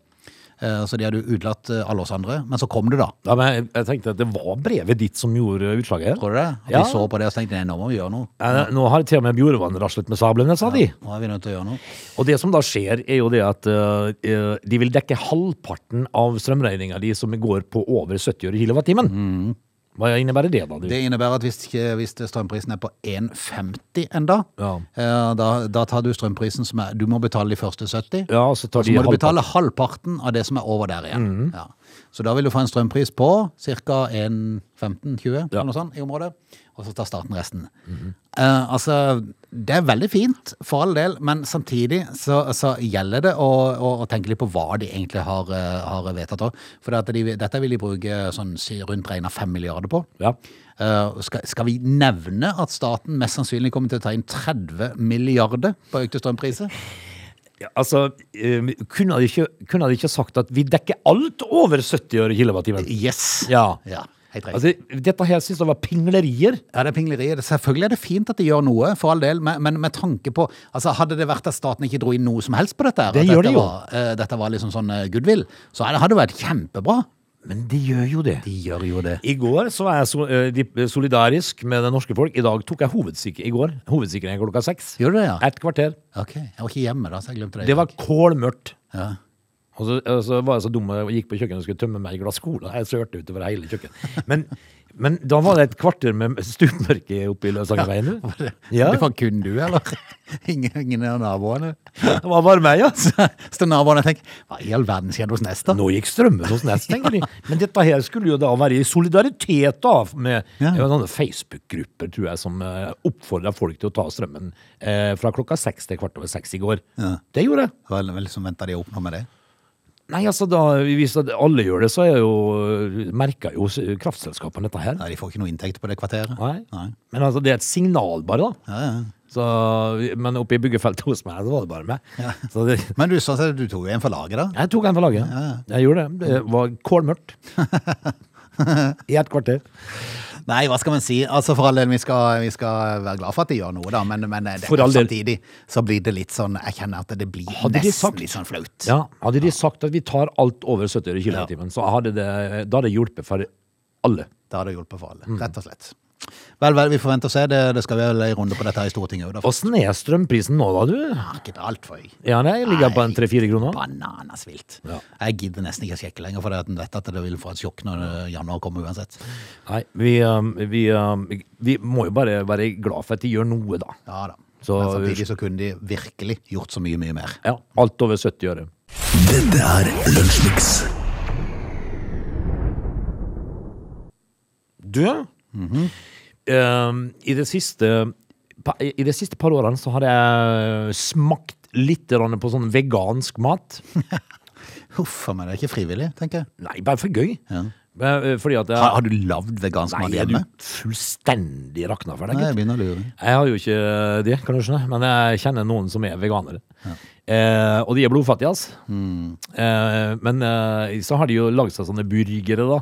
[SPEAKER 1] Eh, Så de hadde jo utelatt eh, alle oss andre. Men så kom det, da.
[SPEAKER 2] Ja, men jeg, jeg tenkte at det var brevet ditt som gjorde utslaget her.
[SPEAKER 1] Tror du det? At
[SPEAKER 2] Ja.
[SPEAKER 1] de så på det og så tenkte nei, nå må vi gjøre noe.
[SPEAKER 2] Eh, Nå har til og med Bjorvann raslet med sablene, sa de.
[SPEAKER 1] Nå er vi nødt til å gjøre noe.
[SPEAKER 2] Og det som da skjer, er jo det at eh, eh, de vil dekke halvparten av strømregninga di som går på over 70 øre kilowattimen. Hva innebærer det, da? Du?
[SPEAKER 1] Det innebærer at hvis, ikke- hvis strømprisen er på 1,50 enda,
[SPEAKER 2] Ja.
[SPEAKER 1] eh, da, da tar du strømprisen som er Du må betale de første 70.
[SPEAKER 2] Ja, så tar de
[SPEAKER 1] må
[SPEAKER 2] Mhm.
[SPEAKER 1] du
[SPEAKER 2] halvparten.
[SPEAKER 1] betale halvparten av det som er over der igjen. Ja. Så da vil du få en strømpris på ca. 1,15-20 eller noe sånt i området, og så tar staten resten.
[SPEAKER 2] Mhm.
[SPEAKER 1] eh, altså, det er veldig fint, for all del, men samtidig så, så gjelder det å, å, å tenke litt på hva de egentlig har, eh, har vedtatt òg. For det at de, dette vil de bruke sånn si- rundt regna 5 milliarder på.
[SPEAKER 2] Ja.
[SPEAKER 1] Eh, skal, skal vi nevne at staten mest sannsynlig kommer til å ta inn 30 milliarder på økte strømpriser?
[SPEAKER 2] Ja, altså, eh, kunne de, ikke, kunne de ikke sagt at vi dekker alt over 70 øre kilowattimen?
[SPEAKER 1] Yes!
[SPEAKER 2] Ja.
[SPEAKER 1] Ja, helt riktig.
[SPEAKER 2] Altså, dette her synes jeg var pinglerier.
[SPEAKER 1] Ja, det er pingleriet. Selvfølgelig er det fint at de gjør noe, for all del, men, men med tanke på altså, Hadde det vært at staten ikke dro inn noe som helst på dette, her,
[SPEAKER 2] Det
[SPEAKER 1] at
[SPEAKER 2] gjør
[SPEAKER 1] dette
[SPEAKER 2] de jo.
[SPEAKER 1] Var, eh, dette var liksom sånn eh, goodwill, så hadde hadde det vært kjempebra.
[SPEAKER 2] Men de gjør jo det.
[SPEAKER 1] De gjør jo det.
[SPEAKER 2] I går så var jeg so eh, dip- solidarisk med det norske folk. I dag tok jeg hovedsikring i går. Hovedsikring klokka seks.
[SPEAKER 1] Gjorde det, ja?
[SPEAKER 2] Et kvarter.
[SPEAKER 1] Ok. Jeg var ikke hjemme da, så jeg glemte det.
[SPEAKER 2] Det var kålmørkt.
[SPEAKER 1] ja.
[SPEAKER 2] Og så, og så var jeg så dum og gikk på kjøkkenet og skulle tømme meg i glass cola. Jeg sørte utover hele kjøkkenet. Men, men da var det et kvarter med stupmørke oppe i Løsangerveien. du. Ja,
[SPEAKER 1] Det var kun du, eller? [laughs] Ingen, ingen av naboene? [laughs]
[SPEAKER 2] det var bare meg, altså.
[SPEAKER 1] Så naboene tenker Hva i all verden skjer hos Nesta?
[SPEAKER 2] Nå gikk strømmen hos Nest, tenker de. Men dette her skulle jo da være i solidaritet da, med
[SPEAKER 1] Ja.
[SPEAKER 2] det var noen Facebook-grupper, tror jeg, som eh, oppfordra folk til å ta strømmen eh, fra klokka seks til kvart over seks i går. Det gjorde jeg.
[SPEAKER 1] Hva er det som venter de å oppnå med det?
[SPEAKER 2] Nei, altså da, hvis at alle gjør det, så er jo, merker jo s- kraftselskapene dette her.
[SPEAKER 1] Nei, De får ikke noe inntekt på det kvarteret.
[SPEAKER 2] Nei. Men altså, det er et signal bare, da.
[SPEAKER 1] Ja, ja.
[SPEAKER 2] Så, men oppe i byggefeltet hos meg, så var det bare meg. Så det,
[SPEAKER 1] Men du, sånn sett, du tok jo en for laget, da.
[SPEAKER 2] jeg tok en for laget. [laughs] Jeg gjorde det. Det var kålmørkt. I et kvarter.
[SPEAKER 1] Nei, hva skal man si? Altså For all del, vi skal, vi skal være glad for at de gjør noe, da, men, men eh, det,
[SPEAKER 2] For all del.
[SPEAKER 1] samtidig så blir det litt sånn Jeg kjenner at det blir
[SPEAKER 2] Hadde de
[SPEAKER 1] nesten
[SPEAKER 2] sagt-
[SPEAKER 1] litt sånn flaut.
[SPEAKER 2] Ja, hadde de sagt at vi tar alt over 70 km i timen, så hadde det, da hadde det hjulpet for alle.
[SPEAKER 1] Det hadde hjulpet for
[SPEAKER 2] Mm.
[SPEAKER 1] alle, rett og slett. Vel, vel, vi får vente og se. Det, det skal vel en runde på dette her i Stortinget òg, da.
[SPEAKER 2] Åssen er strømprisen nå, da, du?
[SPEAKER 1] F- Ikke altfor høy.
[SPEAKER 2] Ja, nei, ligger på en 3-4 kroner.
[SPEAKER 1] Bananas vilt. Jeg gidder nesten ikke å sjekke lenger, for den vet at det vil få et sjokk når eh, januar kommer uansett.
[SPEAKER 2] Nei, vi, um, vi, um, vi må jo bare være glad for at de gjør noe, da.
[SPEAKER 1] Ja da.
[SPEAKER 2] Så-
[SPEAKER 1] Men samtidig så kunne de virkelig gjort så mye, mye mer.
[SPEAKER 2] Ja, alt over 70 øre.
[SPEAKER 3] Dette er Lunsjmix.
[SPEAKER 2] Du, um, i, det siste, pa- i de siste par årene så har jeg smakt litt grann på sånn vegansk mat.
[SPEAKER 1] Huff a meg, det er ikke frivillig, tenker jeg.
[SPEAKER 2] Nei, bare for gøy.
[SPEAKER 1] Ja.
[SPEAKER 2] Eh, Fordi at jeg,
[SPEAKER 1] Har, har du lagd vegansk
[SPEAKER 2] Nei,
[SPEAKER 1] mat
[SPEAKER 2] er du
[SPEAKER 1] hjemme?
[SPEAKER 2] fullstendig rakna for deg,
[SPEAKER 1] Nei,
[SPEAKER 2] gutt?
[SPEAKER 1] jeg begynner å lure.
[SPEAKER 2] Jeg har jo ikke det, kan du skjønne, men jeg kjenner noen som er veganere. Eh, og de er blodfattige, altså. Eh, men eh, så har de jo lagd seg sånne burgere, da.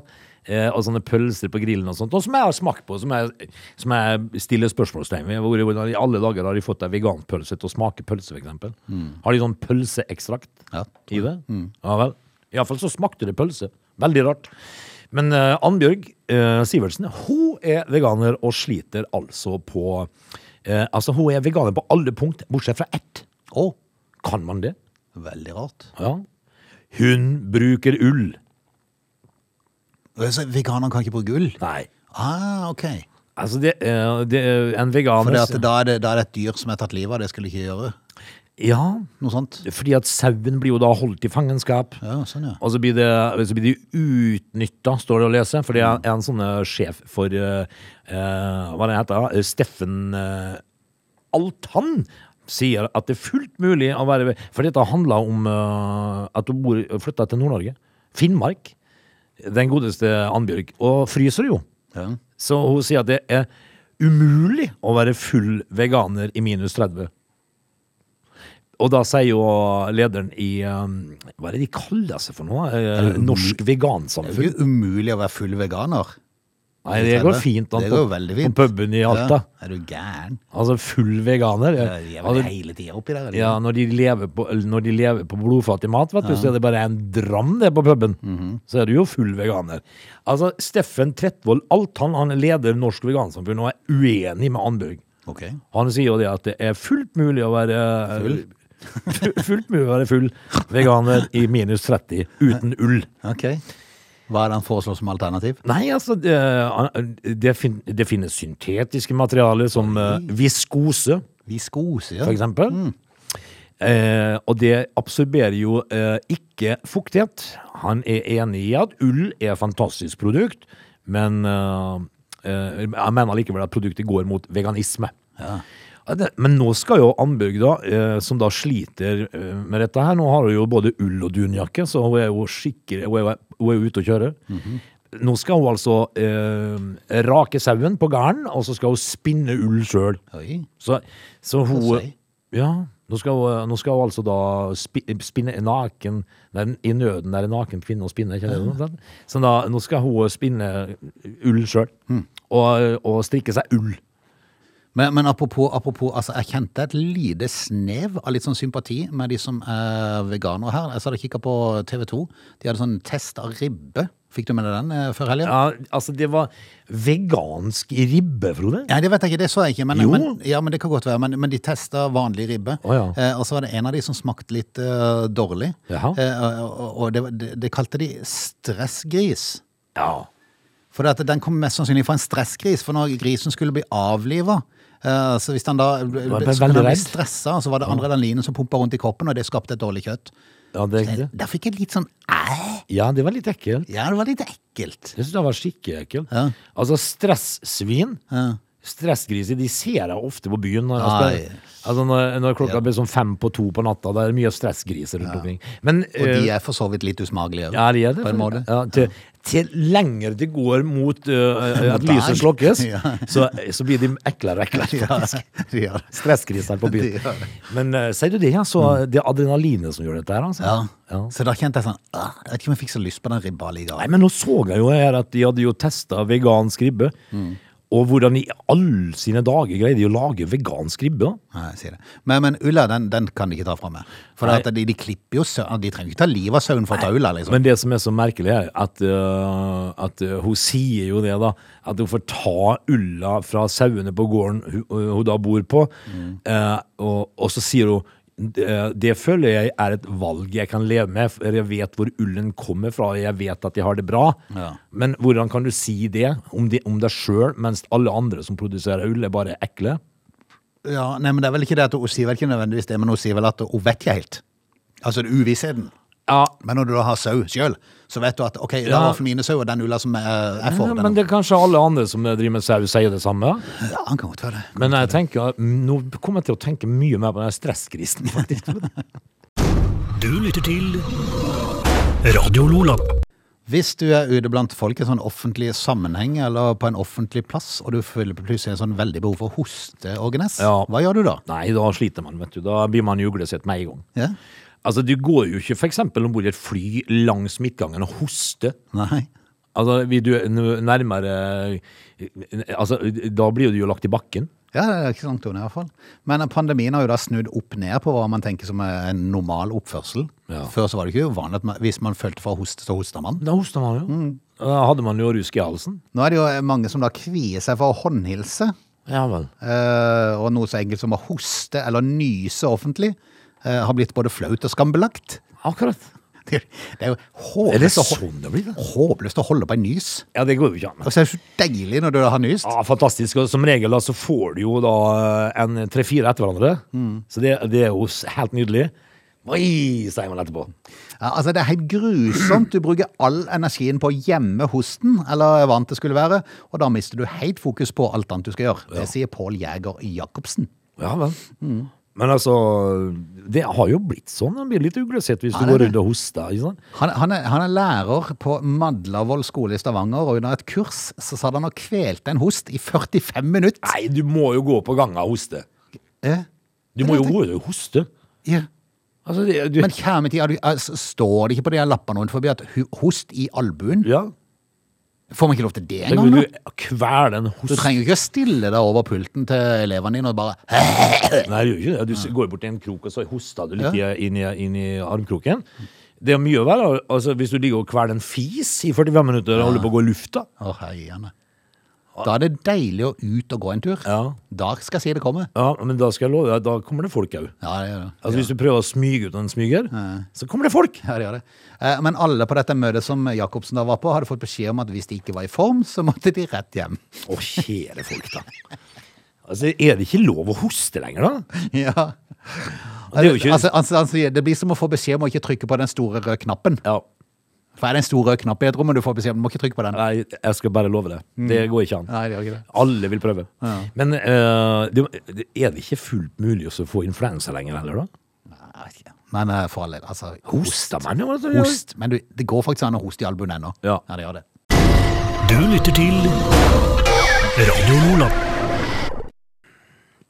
[SPEAKER 2] Eh, og sånne pølser på grillen og sånt. Og som jeg har smakt på, som jeg, som jeg stiller spørsmålstegn ved. Hvor- Hvordan i alle dager har de fått ei veganpølse til å smake pølse, f.eks.? eksempel Har de sånn pølseekstrakt?
[SPEAKER 1] Ja.
[SPEAKER 2] i det.
[SPEAKER 1] Mm.
[SPEAKER 2] Ja vel. Iallfall så smakte det pølse. Veldig rart. Men eh, Annbjørg eh, Sivertsen, hun er veganer og sliter altså på eh, Altså, hun er veganer på alle punkt, bortsett fra ett. Å, kan man det?
[SPEAKER 1] Veldig rart.
[SPEAKER 2] Ja. Hun bruker ull.
[SPEAKER 1] Så veganerne kan ikke bruke ull?
[SPEAKER 2] Nei.
[SPEAKER 1] Ah, ok.
[SPEAKER 2] Altså, det, eh, det er en veganer
[SPEAKER 1] For det at da, er det, da er det et dyr som er tatt livet av, det skulle de ikke gjøre?
[SPEAKER 2] Ja,
[SPEAKER 1] Noe sånt?
[SPEAKER 2] fordi at sauen blir jo da holdt i fangenskap.
[SPEAKER 1] Ja, sånn, ja.
[SPEAKER 2] Og så blir, det, så blir de utnytta, står det å lese. For det er en sånn eh, sjef for eh, eh, Hva det heter det? Steffen eh, Altan sier at det er fullt mulig å være For dette handler om eh, at hun bor, flytta til Nord-Norge. Finnmark. Den godeste Annbjørg. Og fryser jo.
[SPEAKER 1] ja.
[SPEAKER 2] Så hun sier at det er umulig å være full veganer i minus 30. Og da sier jo lederen i um, Hva er det de kaller seg for noe? Eh, Norsk
[SPEAKER 1] Det er
[SPEAKER 2] vegansamfunn.
[SPEAKER 1] jo umulig å være full veganer.
[SPEAKER 2] Nei, det går fint an
[SPEAKER 1] Det
[SPEAKER 2] på,
[SPEAKER 1] går veldig
[SPEAKER 2] på
[SPEAKER 1] fint.
[SPEAKER 2] puben i Alta.
[SPEAKER 1] Ja. Er du gæren?
[SPEAKER 2] Altså full veganer.
[SPEAKER 1] Det er
[SPEAKER 2] Ja,
[SPEAKER 1] jævlig
[SPEAKER 2] altså,
[SPEAKER 1] hele tida oppi der. eller?
[SPEAKER 2] ja, når, de lever på, eller når de lever på blodfattig mat, vet du, så er det bare en dram det på puben.
[SPEAKER 1] Mhm.
[SPEAKER 2] Så er du jo full veganer. Altså, Steffen Tretvold Altan han leder Norsk vegansamfunn og er uenig med Annbjørg.
[SPEAKER 1] Ok.
[SPEAKER 2] Han sier jo det at det er fullt mulig å være full. fullt mulig å være full veganer i minus 30 uten ull.
[SPEAKER 1] ok. Hva er det han foreslår som alternativ?
[SPEAKER 2] Nei, altså Det, det, fin, det finnes syntetiske materialer som eh, viskose,
[SPEAKER 1] Viskose, ja.
[SPEAKER 2] for eksempel. Eh, og det absorberer jo eh, ikke fuktighet. Han er enig i at ull er et fantastisk produkt, men eh, eh, jeg mener likevel at produktet går mot veganisme. Ja, det- Men nå skal jo Ambjørg, da, eh, som da sliter eh, med dette her Nå har hun jo både ull og dunjakke, så hun er jo skikkelig Hun er, hun er jo ute og kjører. Nå skal hun altså eh, rake sauen på gården, og så skal hun spinne ull sjøl.
[SPEAKER 1] Oi.
[SPEAKER 2] Så, så hun
[SPEAKER 1] Hva sier?
[SPEAKER 2] Ja, nå skal hun, nå skal hun altså da spi, spinne en naken nei, I nøden er en naken kvinne å spinne, ikke det? sant? Så da, nå skal hun spinne ull sjøl. Og, og strikke seg ull.
[SPEAKER 1] Men, men apropos, apropos altså, jeg kjente et lite snev av litt sånn sympati med de som er veganere her. Jeg satt og kikka på TV 2. De hadde sånn test av ribbe. Fikk du med deg den eh, før helga?
[SPEAKER 2] Ja, altså, det var vegansk ribbe, Frode.
[SPEAKER 1] Nei, det vet jeg ikke, det så jeg ikke. Men,
[SPEAKER 2] Jo.
[SPEAKER 1] men, ja, men det kan godt være. Men, men de testa vanlig ribbe.
[SPEAKER 2] Å, ja.
[SPEAKER 1] eh, og så var det en av de som smakte litt eh, dårlig.
[SPEAKER 2] Jaha.
[SPEAKER 1] Eh, og og- og det, var- det, det kalte de stressgris.
[SPEAKER 2] Ja.
[SPEAKER 1] For det at den kom mest sannsynlig fra en stressgris, for når grisen skulle bli avliva eh, så hvis den da ble,
[SPEAKER 2] var
[SPEAKER 1] så
[SPEAKER 2] veldig
[SPEAKER 1] kunne den bli
[SPEAKER 2] redd.
[SPEAKER 1] stressa, så var det adrenalinen som pumpa rundt i kroppen, og det skapte et dårlig kjøtt.
[SPEAKER 2] Ja, det, det.
[SPEAKER 1] Der fikk jeg litt sånn æh!
[SPEAKER 2] ja, det var litt ekkelt.
[SPEAKER 1] Ja, det var litt ekkelt.
[SPEAKER 2] Jeg syns det var skikkelig ekkelt.
[SPEAKER 1] Ja.
[SPEAKER 2] Altså, stressvin
[SPEAKER 1] Ja.
[SPEAKER 2] stressgriser de ser jeg ofte på byen. Når, jeg
[SPEAKER 1] Nei.
[SPEAKER 2] spiller. altså når, når klokka
[SPEAKER 1] Ja.
[SPEAKER 2] blir sånn fem på to på natta, det er mye stressgriser rundt omkring. Men,
[SPEAKER 1] Og
[SPEAKER 2] eh,
[SPEAKER 1] de er for så vidt litt usmakelige.
[SPEAKER 2] ja, de er det.
[SPEAKER 1] På en måte.
[SPEAKER 2] Ja, til, til lenger det går
[SPEAKER 1] [laughs]
[SPEAKER 2] mot øh, at
[SPEAKER 1] dag.
[SPEAKER 2] lyset slokkes,
[SPEAKER 1] Ja.
[SPEAKER 2] så, så blir de eklere og eklere.
[SPEAKER 1] [laughs] [laughs] Ja, de gjør det.
[SPEAKER 2] Stressgriser på
[SPEAKER 1] [laughs]
[SPEAKER 2] byen.
[SPEAKER 1] De gjør det. Mm.
[SPEAKER 2] Men øh, sier du det, ja, så det er adrenalinet som gjør dette her, altså.
[SPEAKER 1] Ja. Så da kjente jeg sånn «Åh, Jeg vet ikke om jeg fikk så lyst på den ribba
[SPEAKER 2] Nei,
[SPEAKER 1] likevel.
[SPEAKER 2] men nå så jeg jo her at de hadde jo testa vegansk ribbe. Og hvordan i all sine dager greide de å lage vegansk ribbe? da?
[SPEAKER 1] Nei, jeg sier det. Men, men ulla, den, den kan de ikke ta fra meg. For det at de, de klipper jo søvn De trenger ikke ta livet av søvn for å ta ulla, liksom.
[SPEAKER 2] Men det som er så merkelig, er at, øh, at øh, hun sier jo det, da. At hun får ta ulla fra sauene på gården hun, øh, hun da bor på. eh, og, og så sier hun «Eh, det føler jeg er et valg jeg kan leve med, for jeg vet hvor ullen kommer fra, og jeg vet at jeg har det bra.
[SPEAKER 1] Ja.
[SPEAKER 2] Men hvordan kan du si det om, de, om deg sjøl, mens alle andre som produserer ull, er bare ekle?
[SPEAKER 1] Ja, nei, men det er vel ikke det at hun sier vel ikke nødvendigvis det, men hun sier vel at hun vet ikke helt. Altså det er uvissheten.
[SPEAKER 2] Ja,
[SPEAKER 1] Men når du da har sau sjøl, så vet du at ok, det
[SPEAKER 2] Ja.
[SPEAKER 1] var for mine sauer den ulla som er, er for
[SPEAKER 2] men
[SPEAKER 1] den.
[SPEAKER 2] det er kanskje alle andre som driver med sau, sier det samme? da?
[SPEAKER 1] Ja, han kan godt være det.
[SPEAKER 2] Men jeg tenker, nå kommer jeg til å tenke mye mer på den stresskrisen, [laughs] faktisk.
[SPEAKER 3] Du lytter til Radio Lola.
[SPEAKER 1] Hvis du er ute blant folk i en sånn offentlig sammenheng eller på en offentlig plass, og du føler plutselig en sånn veldig behov for hosteorganes,
[SPEAKER 2] Ja.
[SPEAKER 1] hva gjør du da?
[SPEAKER 2] Nei, da sliter man, vet du. Da blir man juglesett med en gang.
[SPEAKER 1] Ja?
[SPEAKER 2] Altså, du går jo ikke for eksempel ombord i et fly langs midtgangen og hoster.
[SPEAKER 1] Nei.
[SPEAKER 2] Altså, vil du n- nærmere Altså, da blir du jo lagt i bakken.
[SPEAKER 1] Ja, det er ikke så langt unna i hvert fall. Men pandemien har jo da snudd opp ned på hva man tenker som er en normal oppførsel.
[SPEAKER 2] Ja.
[SPEAKER 1] Før så var det ikke uvanlig at man, hvis man følte for å hoste, så hosta man.
[SPEAKER 2] Da hoster man jo. Da hadde man jo rusk i halsen.
[SPEAKER 1] Nå er det jo mange som da kvier seg for å håndhilse.
[SPEAKER 2] Ja vel.
[SPEAKER 1] Eh, og noe så enkelt som å hoste eller nyse offentlig eh, har blitt både flaut og skambelagt. [laughs]
[SPEAKER 2] Akkurat.
[SPEAKER 1] Det, det er jo
[SPEAKER 2] Er det
[SPEAKER 1] håpløst, å hol-
[SPEAKER 2] sånn det blir, da?
[SPEAKER 1] håpløst å holde på en nys.
[SPEAKER 2] Ja, det går jo ikke an.
[SPEAKER 1] Og så er det så deilig når du har nyst.
[SPEAKER 2] Ja, fantastisk. Og som regel da, så får du jo da eh, en tre-fire etter hverandre.
[SPEAKER 1] Mm.
[SPEAKER 2] Så det, det er jo s- helt nydelig. Oi, sier man etterpå.
[SPEAKER 1] Ja, altså Det er helt grusomt. Du bruker all energien på å gjemme hosten, eller hva annet det skulle være, og da mister du helt fokus på alt annet du skal gjøre. Det sier Pål Jæger Jacobsen.
[SPEAKER 2] Ja vel.
[SPEAKER 1] Mm.
[SPEAKER 2] Men altså, det har jo blitt sånn. Man blir litt uglesett hvis
[SPEAKER 1] Ja,
[SPEAKER 2] du
[SPEAKER 1] det er
[SPEAKER 2] går rundt og hoster. Ikke sant?
[SPEAKER 1] Han, han, er, han er lærer på Madlavoll skole i Stavanger, og under et kurs så satt han og kvelte en host i 45 minutter.
[SPEAKER 2] Nei, du må jo gå på gangen og hoste.
[SPEAKER 1] Eh,
[SPEAKER 2] Du må jo gå rundt og hoste.
[SPEAKER 1] ja.
[SPEAKER 2] Altså, det, du,
[SPEAKER 1] Men kjære tid, står det ikke på de her lappene rundt forbi at hu- host i albuen?
[SPEAKER 2] ja.
[SPEAKER 1] Får man ikke lov til det
[SPEAKER 2] Tenk
[SPEAKER 1] engang?
[SPEAKER 2] om
[SPEAKER 1] da?
[SPEAKER 2] du kveler en
[SPEAKER 1] Du
[SPEAKER 2] host.
[SPEAKER 1] trenger jo ikke å stille deg over pulten til elevene dine og bare Hæ?
[SPEAKER 2] Nei, du gjør ikke det. Du s- går bort til en krok, og så hoster du litt i- inn, i, inn i armkroken. Det er mye å være. Altså, hvis du ligger og kveler en fis i 45 minutter og holder på å gå i lufta.
[SPEAKER 1] Å, herjene. Da er det deilig å ut og gå en tur.
[SPEAKER 2] Ja.
[SPEAKER 1] Da skal jeg si det kommer.
[SPEAKER 2] Ja, men da skal jeg love deg, da kommer det folk òg.
[SPEAKER 1] Ja, det gjør det.
[SPEAKER 2] Altså, Hvis du prøver å smyge ut en smyger, så kommer det folk!
[SPEAKER 1] Ja, det gjør det. Eh, Men alle på dette møtet som Jacobsen da var på, hadde fått beskjed om at hvis de ikke var i form, så måtte de rett hjem.
[SPEAKER 2] Å, kjære folk, da. Altså, Er det ikke lov å hoste lenger, da?
[SPEAKER 1] [laughs] Ja.
[SPEAKER 2] Det er jo ikke
[SPEAKER 1] Altså, altså, altså, det blir som å få beskjed om å ikke trykke på den store røde knappen.
[SPEAKER 2] Ja,
[SPEAKER 1] For er det en stor rød knapp i et rom, og du får beskjed om du må ikke trykke på den.
[SPEAKER 2] Nei, jeg skal bare love det. Det går ikke an.
[SPEAKER 1] Nei, det gjør ikke det.
[SPEAKER 2] Alle vil prøve. Men eh, det, det- er det ikke fullt mulig å så få influensa lenger heller, da?
[SPEAKER 1] Nei, jeg vet ikke. Men eh, for all del, altså.
[SPEAKER 2] Hoster man jo? altså,
[SPEAKER 1] Host. Men du, det går faktisk an å hoste i albuen ennå.
[SPEAKER 2] Ja.
[SPEAKER 1] det gjør det.
[SPEAKER 3] Du lytter til Radio Lola.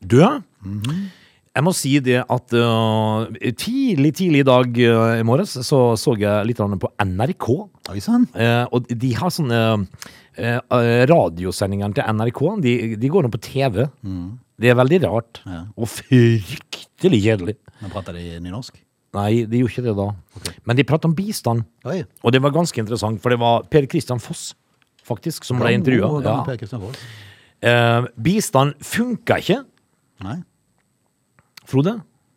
[SPEAKER 2] Du, Mhm. jeg må si det at eh, tidlig, tidlig i dag eh, i morges så så jeg litt grann på NRK.
[SPEAKER 1] Oi sann.
[SPEAKER 2] Eh, og de har sånne eh, eh, Radiosendingene til NRK, de, de går nå på TV. Det er veldig rart. Og fryktelig kjedelig.
[SPEAKER 1] Nå prater de nynorsk.
[SPEAKER 2] Nei, de gjorde ikke det da. Men de prater om bistand.
[SPEAKER 1] Oi.
[SPEAKER 2] Og det var ganske interessant, for det var Per Kristian Foss, faktisk, som ble intervjua.
[SPEAKER 1] Gammel-
[SPEAKER 2] Ja.
[SPEAKER 1] gammel Per Kristian Foss.
[SPEAKER 2] Eh, bistand funka ikke,
[SPEAKER 1] Nei.
[SPEAKER 2] Frode.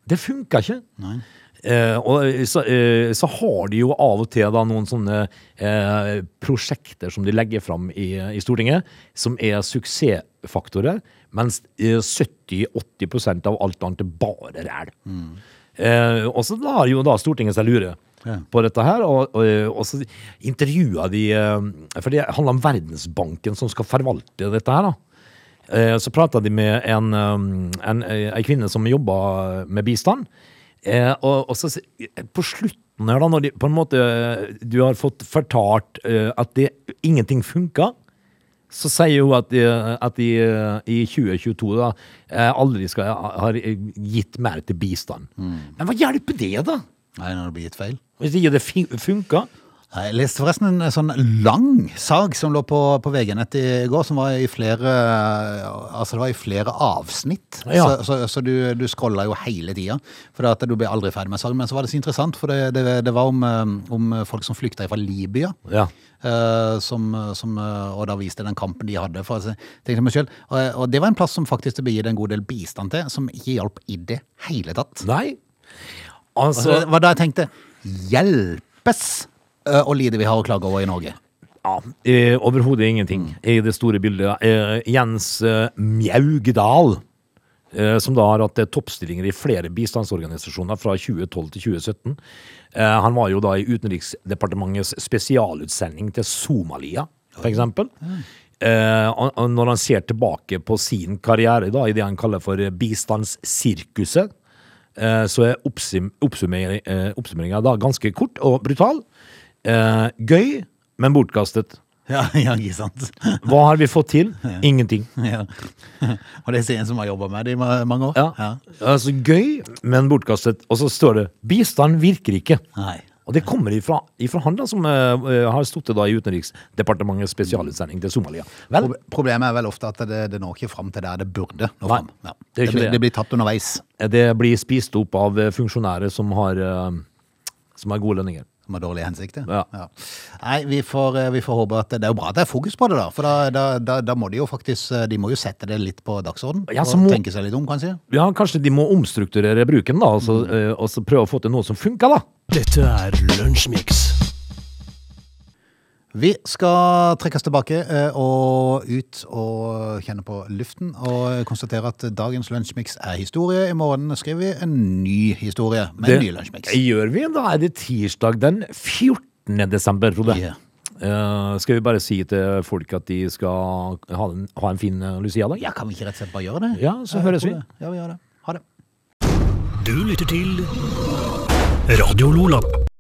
[SPEAKER 2] Det funka ikke.
[SPEAKER 1] Nei.
[SPEAKER 2] Eh, og så, eh, så har de jo av og til da noen sånne eh, prosjekter som de legger fram i, i Stortinget, som er suksessfaktorer, mens eh, 70-80 av alt annet er bare ræl.
[SPEAKER 1] Mm.
[SPEAKER 2] Eh, og så lar jo da Stortinget seg lure
[SPEAKER 1] Ja.
[SPEAKER 2] på dette her, og, og, og så eh, intervjua de eh, For det handler om Verdensbanken som skal forvalte dette her, da. Eh, Så prata de med en, um, en, eh, ei kvinne som jobba med bistand. Eh, Og, og så s- på slutten her, da, når de, på en måte, eh, du har fått fortalt eh, at det, ingenting funka, så sier hun at de, at de eh, i 2022 da, eh, aldri skal ha har gitt mer til bistand. Men hva hjelper det, da?
[SPEAKER 1] Nei, når det blir gitt feil.
[SPEAKER 2] Hvis ikke det fi- funker?
[SPEAKER 1] Jeg leste forresten en sånn lang sag som lå på, på VG-nett i går, som var i flere, altså det var i flere avsnitt.
[SPEAKER 2] Ja.
[SPEAKER 1] Så, så, så du, du scrolla jo hele tida, for at du ble aldri ferdig med saken. Men så var det så interessant, for det, det, det var om, eh, om folk som flykta fra Libya.
[SPEAKER 2] Ja.
[SPEAKER 1] eh, som, som, eh, og da viste den kampen de hadde. For, altså, tenkte jeg meg selv, og, og det var en plass som faktisk det ble gitt en god del bistand til, som ikke hjalp i det hele tatt.
[SPEAKER 2] Nei.
[SPEAKER 1] Så
[SPEAKER 2] Altså
[SPEAKER 1] det var da jeg tenkte Hjelpes ø, å lide vi har å klage over i Norge.
[SPEAKER 2] ja, eh, Overhodet ingenting i det store bildet. Eh, Jens eh, Mjaugedal, eh, som da har hatt eh, toppstillinger i flere bistandsorganisasjoner fra 2012 til 2017. Eh, han var jo da i Utenriksdepartementets spesialutsending til Somalia, for eksempel. Eh, og- og når han ser tilbake på sin karriere da, i det han kaller for eh, bistandssirkuset, eh, så er oppsum- oppsummering- eh, oppsummeringen da ganske kort og brutal. Eh, gøy, men bortkastet.
[SPEAKER 1] [laughs] Ja, ja ikke sant?
[SPEAKER 2] Hva har vi fått til? Ingenting.
[SPEAKER 1] Ja. Og det sier en som har jobba med det i ma- mange år.
[SPEAKER 2] Ja. Altså, gøy, men bortkastet. Og så står det 'bistand virker ikke'.
[SPEAKER 1] Nei.
[SPEAKER 2] Og det kommer ifra, ifra han da, som eh, har stått da i Utenriksdepartementets spesialutsending til Somalia. Vel,
[SPEAKER 1] Prob- Problemet er vel ofte at det, det når ikke fram til der det burde nå
[SPEAKER 2] Nei,
[SPEAKER 1] fram. Ja.
[SPEAKER 2] det er ikke
[SPEAKER 1] blir,
[SPEAKER 2] det.
[SPEAKER 1] det blir tapt underveis.
[SPEAKER 2] det blir spist opp av eh, funksjonærer som har, eh, som har gode lønninger.
[SPEAKER 1] Som har dårlige hensikter.
[SPEAKER 2] Ja.
[SPEAKER 1] Nei, vi får, ø, vi får håpe at Det er jo bra at det er fokus på det, da. For da, da, da, da må de jo faktisk ø, De må jo sette det litt på dagsorden.
[SPEAKER 2] Ja, så
[SPEAKER 1] og
[SPEAKER 2] må-
[SPEAKER 1] tenke seg litt om, kanskje.
[SPEAKER 2] Ja, kanskje de må omstrukturere bruken, da, og så, eh, og så prøve å få til noe som funker, da.
[SPEAKER 3] Dette er Lunsjmix.
[SPEAKER 1] Vi skal trekke oss tilbake eh, og ut og kjenne på luften og konstatere at dagens lunsjmix er historie. I morgen skriver vi en ny historie med en ny lunsjmix.
[SPEAKER 2] gjør vi. Da er det tirsdag den 14. desember, Frode.
[SPEAKER 1] Ja.
[SPEAKER 2] Eh, skal vi bare si til folk at de skal ha en, ha en fin eh, Lucia-dag?
[SPEAKER 1] Ja, kan vi ikke rett og slett bare gjøre det?
[SPEAKER 2] Ja, så
[SPEAKER 1] Jeg
[SPEAKER 2] høres
[SPEAKER 1] tror
[SPEAKER 2] vi.
[SPEAKER 1] det. Ja, vi gjør det. Ha det.
[SPEAKER 3] Du lytter til Radio Lola.